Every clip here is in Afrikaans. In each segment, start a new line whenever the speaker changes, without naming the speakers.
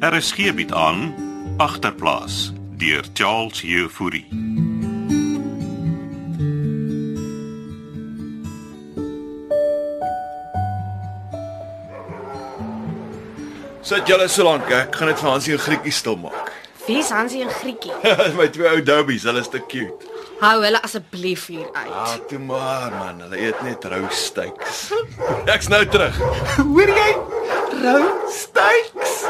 Er is geebiet aan agterplaas deur Charles Jefouri.
Sit julle so lank, ek gaan dit vir Hansie en Griekie stil maak.
Wie's Hansie en Grietjie?
my twee ou doubies, hulle is te cute.
Hou hulle asseblief hier uit.
Ja.
Ah, toe maar man, hulle eet net rou steaks. Ek's nou terug.
Hoor jy? Rou steaks.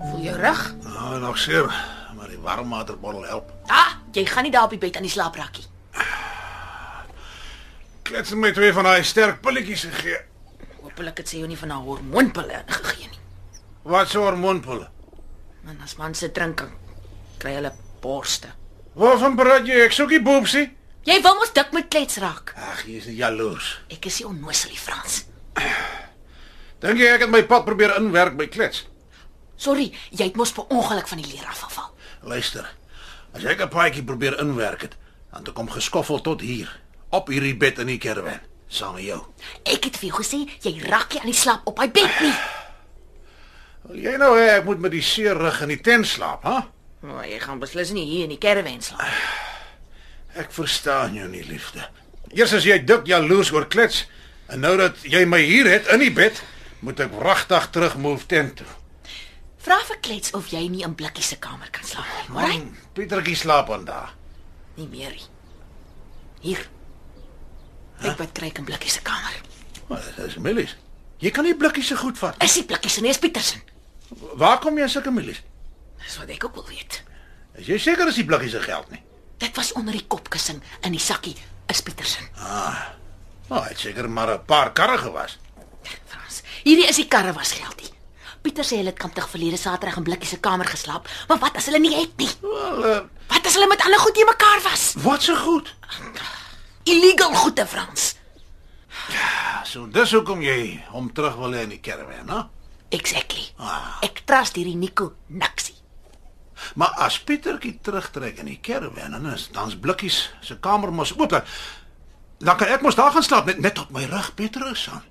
Voel jou rug?
Nou, nog seer, maar die warmwaterbottel help.
Ah, jy gaan nie daar op die bed aan die slaaprakkie.
Klets my twee van daai sterk pilletjies gegee.
Hoopelik het sy jou nie van haar hormoonpille ingegee nie.
Wat so hormoonpille?
Man, as man se drinking kry hulle borste.
Waarvan praat jy? Ek soekie boepsie.
Jy wil mos dik met klets raak.
Ag, jy's net jaloers.
Ek is nie onnoosel nie, Frans.
Dink jy ek het my pad probeer inwerk by Klets?
Sorry, jy het mos per ongeluk van die leer afgeval.
Luister. As ek 'n paadjie probeer inwerk het, dan het ek hom geskoffel tot hier, op hierdie bed in die caravan, saam met jou.
Ek het vir jou gesê jy raak nie aan die slaap op hy bed nie.
Wil jy nou hê ek moet met die seer rug in die tent slaap, hè?
Maar jy gaan beslis nie hier in die karavaan slaap.
Ek verstaan jou nie, liefde. Eers as jy dik jaloers oor Klets en nou dat jy my hier het in die bed, moet ek wragtig terug move tent toe.
Vra vir klets of jy nie in Blikkie se kamer kan slaap nie. Maar hy
Man, Pietertjie slaap aan daar.
nie meer nie. Hier. Ek wat kry ek in Blikkie se kamer.
Maar dis milies. Jy kan nie blikkies se goed vat.
Is die Blikkie se neus Pietersen?
Waar kom jy aan sulke milies?
Dis wat ek ook wil weet.
Is jy seker dis die blikkies se geld nie?
Dit was onder die kopkussing in die sakkie is Pietersen.
Nou, hy het seker maar 'n paar karre gewas.
Frans, hierdie is die karre was geldie. Pieter sê hulle het kamptig verlede Saterdag in Blikkie se kamer geslaap, maar wat as hulle nie het nie?
Wel, uh,
Wat as hulle met ander goed te mekaar was?
wat se goed.
Illegal goede Frans.
Ja, so dis hoekom jy hom terug wil hê in die caravan, hè?
Exactly. Ek trust hierdie Nico niksie.
Maar as Pietertjie terugtrek in die caravan, dan is dan's blikkies se kamer mos oop. Dan- Dan kan ek mos daar gaan slaap net net op my rug, Pieterus aan.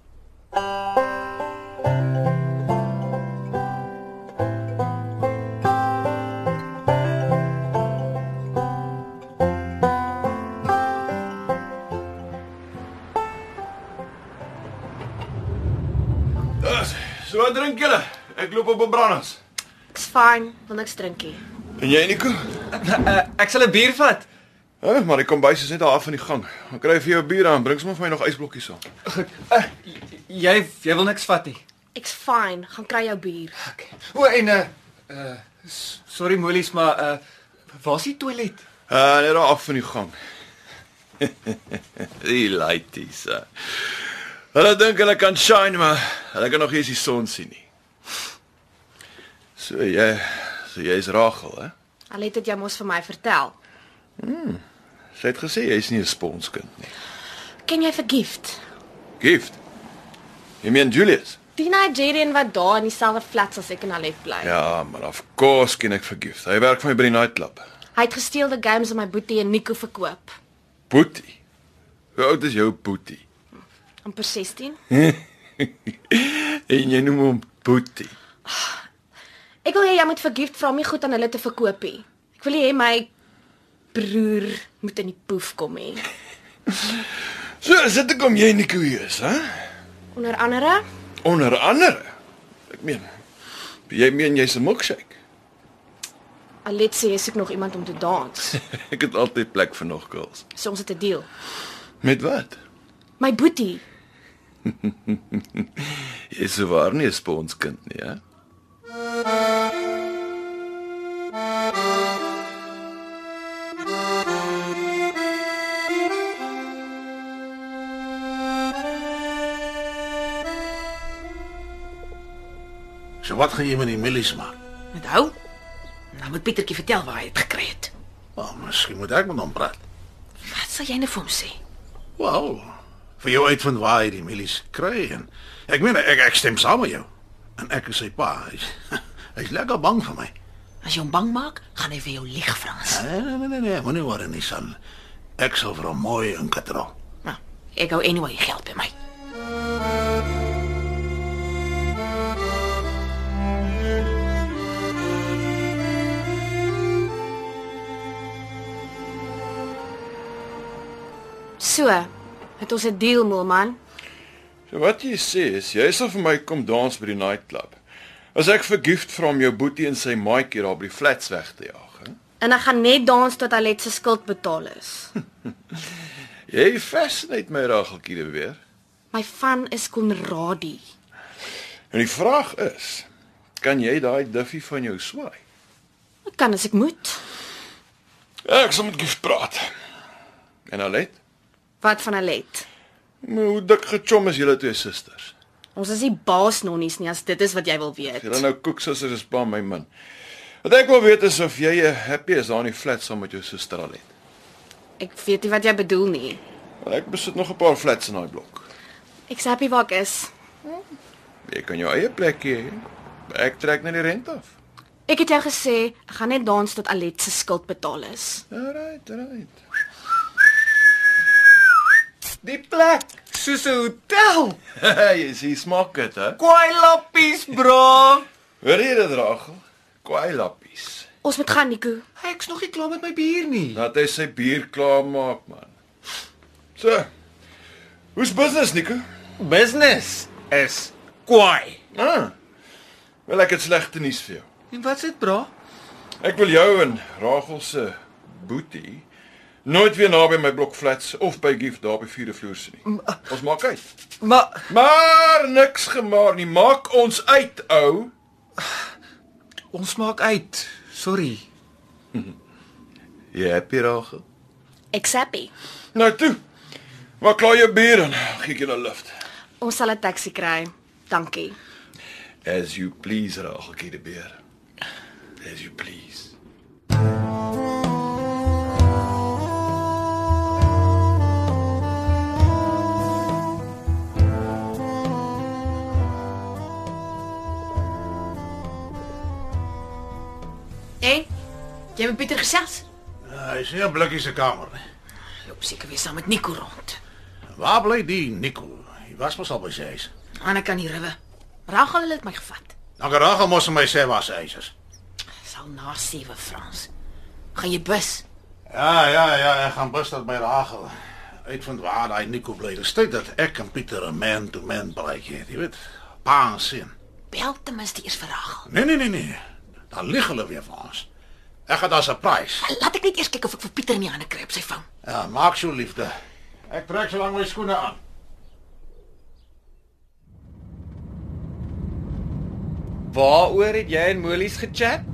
Dis, so drink julle. Ek loop op 'n branders.
Ek's fyn, wil niks drink nie.
En jy, Nico?
Eh,
Uh, ek sal 'n bier vat.
Hæ, maar die kombuis is net daar af van die gang. Ek kry vir jou 'n bier aan. Bring sommer vir my nog ysblokkies saam.
Uh, jy jy wil niks vat nie.
Ek's fyn, gaan kry jou bier.
Okay. O en uh, uh s- sorry Molies, maar uh waar's die toilet?
Uh, net daar af van die gang. die lighties. Uh. Hulle dink hulle kan shine, maar hulle kan nog nie eens die son sien nie. So jy, so jy's Rachel, hè?
Al het dit jou mos vir my vertel.
Sy het gesê jy's nie 'n sponskind nie.
Ken jy vir Gift?
Gift. Jy meen Julius?
Die Nigerian wat daar in dieselfde flats as ek en Alef bly.
Ja, maar of course ken ek vir Gift. Hy werk vir my by die nightclub.
Hy het gesteelde games aan my boetie en Nico verkoop.
Boetie. Hoe oud is jou boetie?
amper 16.
En jy noem hom boetie.
Ek wil hê jy moet vir Gift vra om nie goed aan hulle te verkoop nie. Ek wil nie hê my broer moet in die poef kom nie.
So, is dit hoekom jy Nico hier is, hè?
Onder andere,
Onder andere. Ek meen, jy meen jy's 'n milkshake.
Alet sê jy soek nog iemand om te dans.
Ek het altyd plek vir nog girls.
So ons het 'n deal.
Met wat?
My boetie,
Jy's so waar nie 'n sponskind nie, hè?
So wat gaan jy met die milies maak?
Onthou? Nou moet Pietertjie vertel waar hy dit gekry het.
Wel, miskien moet ek met hom praat.
Wat sal jy nou vir hom sê?
Wel, vir jou uitvind waar hy die milies kry en ek meen ek, ek stem saam met jou. En ek is sy pa. Hy's hy's lekker bang vir my.
As jy hom bang maak, gaan hy vir jou lieg, Frans.
Eh, Nee nee nee nee, moenie worry nie son. Ek sal vir hom mooi inkatrol.
Nou, ek hou anyway geld by my.
So, het ons 'n deal, Moelman.
So wat jy sê is jy sal vir my kom dans by die nightclub. As ek vergift van jou boetie en sy maatjie daar by die flats weg te jaag, hè?
En ek gaan net dans tot Alet se skuld betaal is.
Jy fascinate my rageltjie weer.
My van is Konradi.
En die vraag is, kan jy daai duffie van jou swaai?
Ek kan as ek moet.
Ek sal met Gift praat. En Alet,
Wat van Alet?
maar hoe dik gechom is julle twee susters?
Ons is nie baas nonnies nie as dit is wat jy wil weet.
Julle nou koeksusters is pa my min. Wat ek wil weet is of jy eh, happy is daar in die flats saam met jou suster Alet.
Ek weet nie wat jy bedoel nie.
Ek besit nog 'n paar flats in daai blok.
Ek's happy waar ek is.
Jy kan jou eie plekkie hê. Ek trek net die rent af.
Ek het jou gesê, ek gaan net dans tot Alet se skuld betaal is.
Alright, alright.
Die plek soos 'n hotel.
jy sien smaak dit, hè?
Kwaai lappies, bro.
Hoor jy dit, Ragel? Kwaai lappies.
Ons moet gaan, Nico.
Ek's nog nie klaar met my bier nie.
Laat hy sy bier klaar maak, man. So. Hoe's business, Nico?
Business is kwaai.
Ah. Wel ek het slegte nuus vir jou.
En wat's dit, bro?
Ek wil jou en Ragel se boetie nooit weer naby my blok flats of by Gift daar by vierde vloer sien nie. Ons maak uit.
Maar
Maar niks gemaak nie. Maak ons uit, ou.
ons maak uit. Sorry.
Jy happy, Ragel?
Ek's happy.
Nou toe. Maar klaar jou bier en gee julle lift.
Ons sal 'n taxi kry. Dankie.
As you please, Rageltjie die beer. As you please.
En jy het Pieter gesels?
Hy is nie 'n blikkie se kamer nie.
Jy loop seker weer saam met Nico rond.
Waar bly die Nico? Hy was mos al by sy huis.
Anna kan die riwe. Rachel hulle het my gevat.
Dan Rachel mos vir my sê waar sy huis is.
Sal na 7 Frans. Gaan jy bus?
Ja, ja, ja, ek gaan bus tot by Rachel. Uitvind waar daai Nico bly. Dit sê dat ek en Pieter 'n man to man praatjie het, jy weet. Pa en sien.
Bel ten minste eers vir Rachel.
Nee nee nee nee. Dan lig hulle weer vir ons. Ek gaan daar 'n prys.
Laat ek net eers kyk of ek vir Pieter in die hande kry op sy vang.
Ja, maak so liefde. Ek trek so lank my skoene aan.
Waaroor het jy en Molies gechat?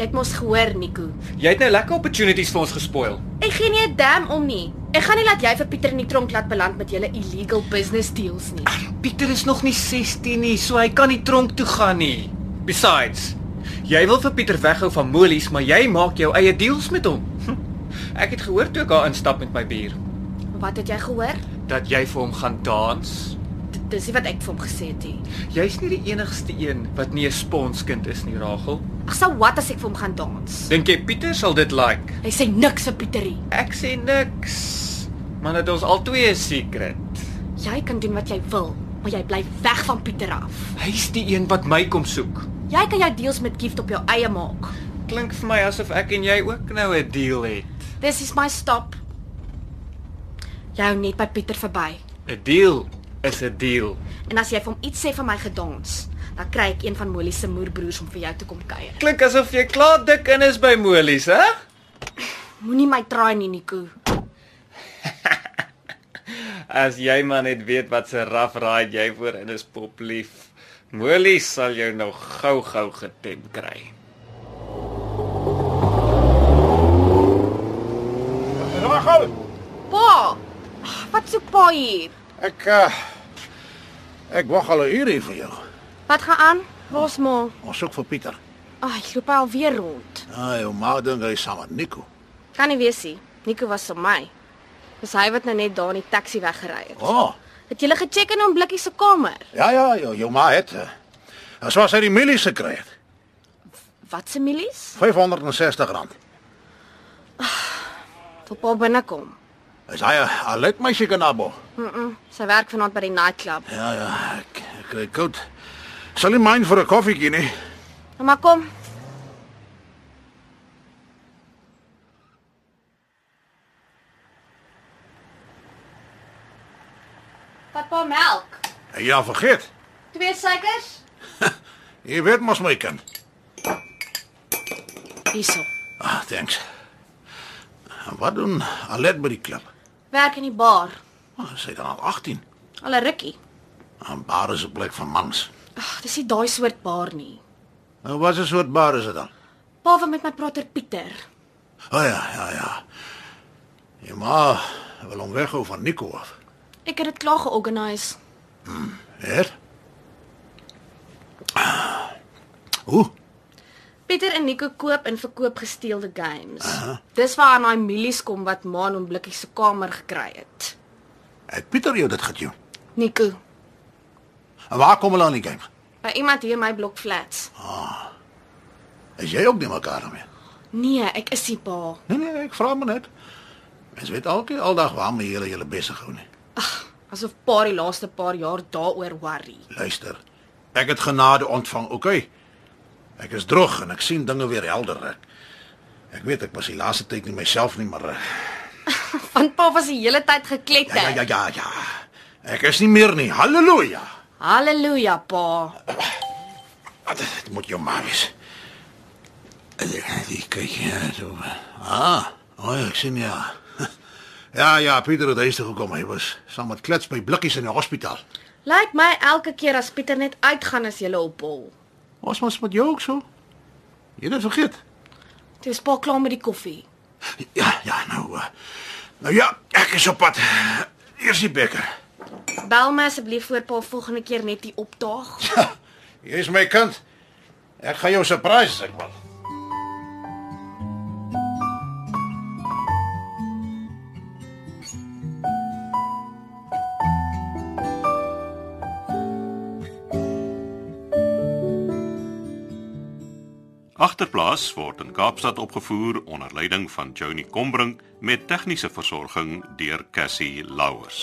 Jy het mos gehoor, Nico.
Jy het nou lekker opportunities vir ons gespoil.
Ek gee nie 'n damn om nie. Ek gaan nie laat jy vir Pieter in die tronk laat beland met julle illegal business deals nie.
Pieter is nog nie 16 nie, so hy kan nie tronk toe gaan nie. Besides, jy wil vir Pieter weghou van Molies, maar jy maak jou eie deals met hom. Hm, Ek het gehoor toe ek daar instap met my bier
Wat het jy gehoor?
dat jy vir hom gaan dans.
D- Dis nie wat ek vir hom gesê het nie.
Jy's nie die enigste een wat nie 'n sponskind is nie, Ragel.
Ag, sou wat as ek vir hom gaan dans?
Dink jy Pieter sal dit like?
Hy sê niks vir Pieterie.
Ek sê niks. Maar dit ons al twee 'n secret.
Jy kan doen wat jy wil, maar jy bly weg van Pieter af.
Hy's die een wat my kom soek.
Jy kan jou deals met Gift op jou eie maak.
Klink vir my asof ek en jy ook nou 'n deal het.
This is my stop. Jy hou net by Pieter verby.
'n Deal is 'n deal.
En as jy vir hom iets sê van my gedans, dan kry ek een van Molly se moerbroers om vir jou te kom kuier.
Klink asof jy klaar dik in is by Molies, hè?
Moenie my traai nie, Nico.
As jy maar net weet wat 'n rough ride jy voor in is pop lief. Molies sal jou nog gou-gou getem kry.
Rachel,
Pa! ag, Wat soek pa hier?
ek uh, ek wag al 'n uur hier vir jou.
Wat gaan aan? Waar's ma?
Ons soek vir Pieter.
Ag, hy loop al weer rond.
Ah, jou ma dink hy is saam met Nico.
Kan nie weet nie. Nico was op my. Dis hy wat nou net daar in die taxi weggery het.
Oh,
Het jy gele gecheck in hom blikkie se kamer?
eh. ja ja, jou, jou ma het. Uh, as was hy die milie se kry het.
Wat se milies?
R560.
Wil pa binnekom.
Is hy 'n a leuk meisie kanabo?
Sy werk vanaand by die nightclub.
Ja ja, ek ek kry koud. Sal nie myn vir 'n koffietjie nie.
Nou maar kom. Papa melk.
Ja, vergeet.
Twee suikers?
Jy weet mos my kind.
Hierso.
Ah, thanks. Wat doen Alet by die klub?
Werk in die bar.
Ah, sy is dan al 18.
Al 'n rukkie.
En bar is 'n plek van mans.
Ag, dis nie daai soort bar nie.
Nou wat 'n soort bar is dit dan?
Pa wil met my praat oor Pieter.
O oh, ja, ja, ja. Ja maar, wil hom weghou van Nico af.
Ek het dit klaar georganiseer.
Hè? Hoe?
Pieter en Nico koop en verkoop gesteelde games. Uh -huh. Dis waar aan daai milies kom wat Maan hom blikkies se kamer gekry het.
Het Pieter jou dit gedoen?
Nico,
En waar kom hulle aan die game?
by iemand hier in my blok flats.
Is jy ook nie mekaar daarmee?
Nee, ek is nie pa.
Nee nee, ek vra maar net. Mens weet altyd aldag waarmee jy julle besig hou nie.
Asof pa die laaste paar jaar daaroor worry.
Luister. Ek het genade ontvang, okay? Ek is droog en ek sien dinge weer helder. Ek, ek weet ek was die laaste tyd nie myself nie, maar eh,
Want pa was die hele tyd gekletter.
ja ja ja ja ja. Ek is nie meer nie. Halleluja.
Halleluja, pa.
Ah, Dit dit moet jou maar wees. Ek kyk hier so. Ah, oh, ek sien ja. Ja ja, Pieter het huis toe gekom. Hy was saam met klets by blikkies in die hospitaal.
Lyk my elke keer as Pieter net uitgaan as jy op hol.
Was mos met jou ook so? Jy het dit vergeet.
Toe is pa klaar met die koffie.
Ja, ja, nou. eh, Nou ja, ek is op pad. Eers die beker.
Bel my asseblief voor pa volgende keer net hier opdaag.
Hier is my kind. Ek gaan jou surprise as ek wil.
Agterplaas word in Kaapstad opgevoer onder leiding van Johnny Combrink met tegniese versorging deur Cassie Louws.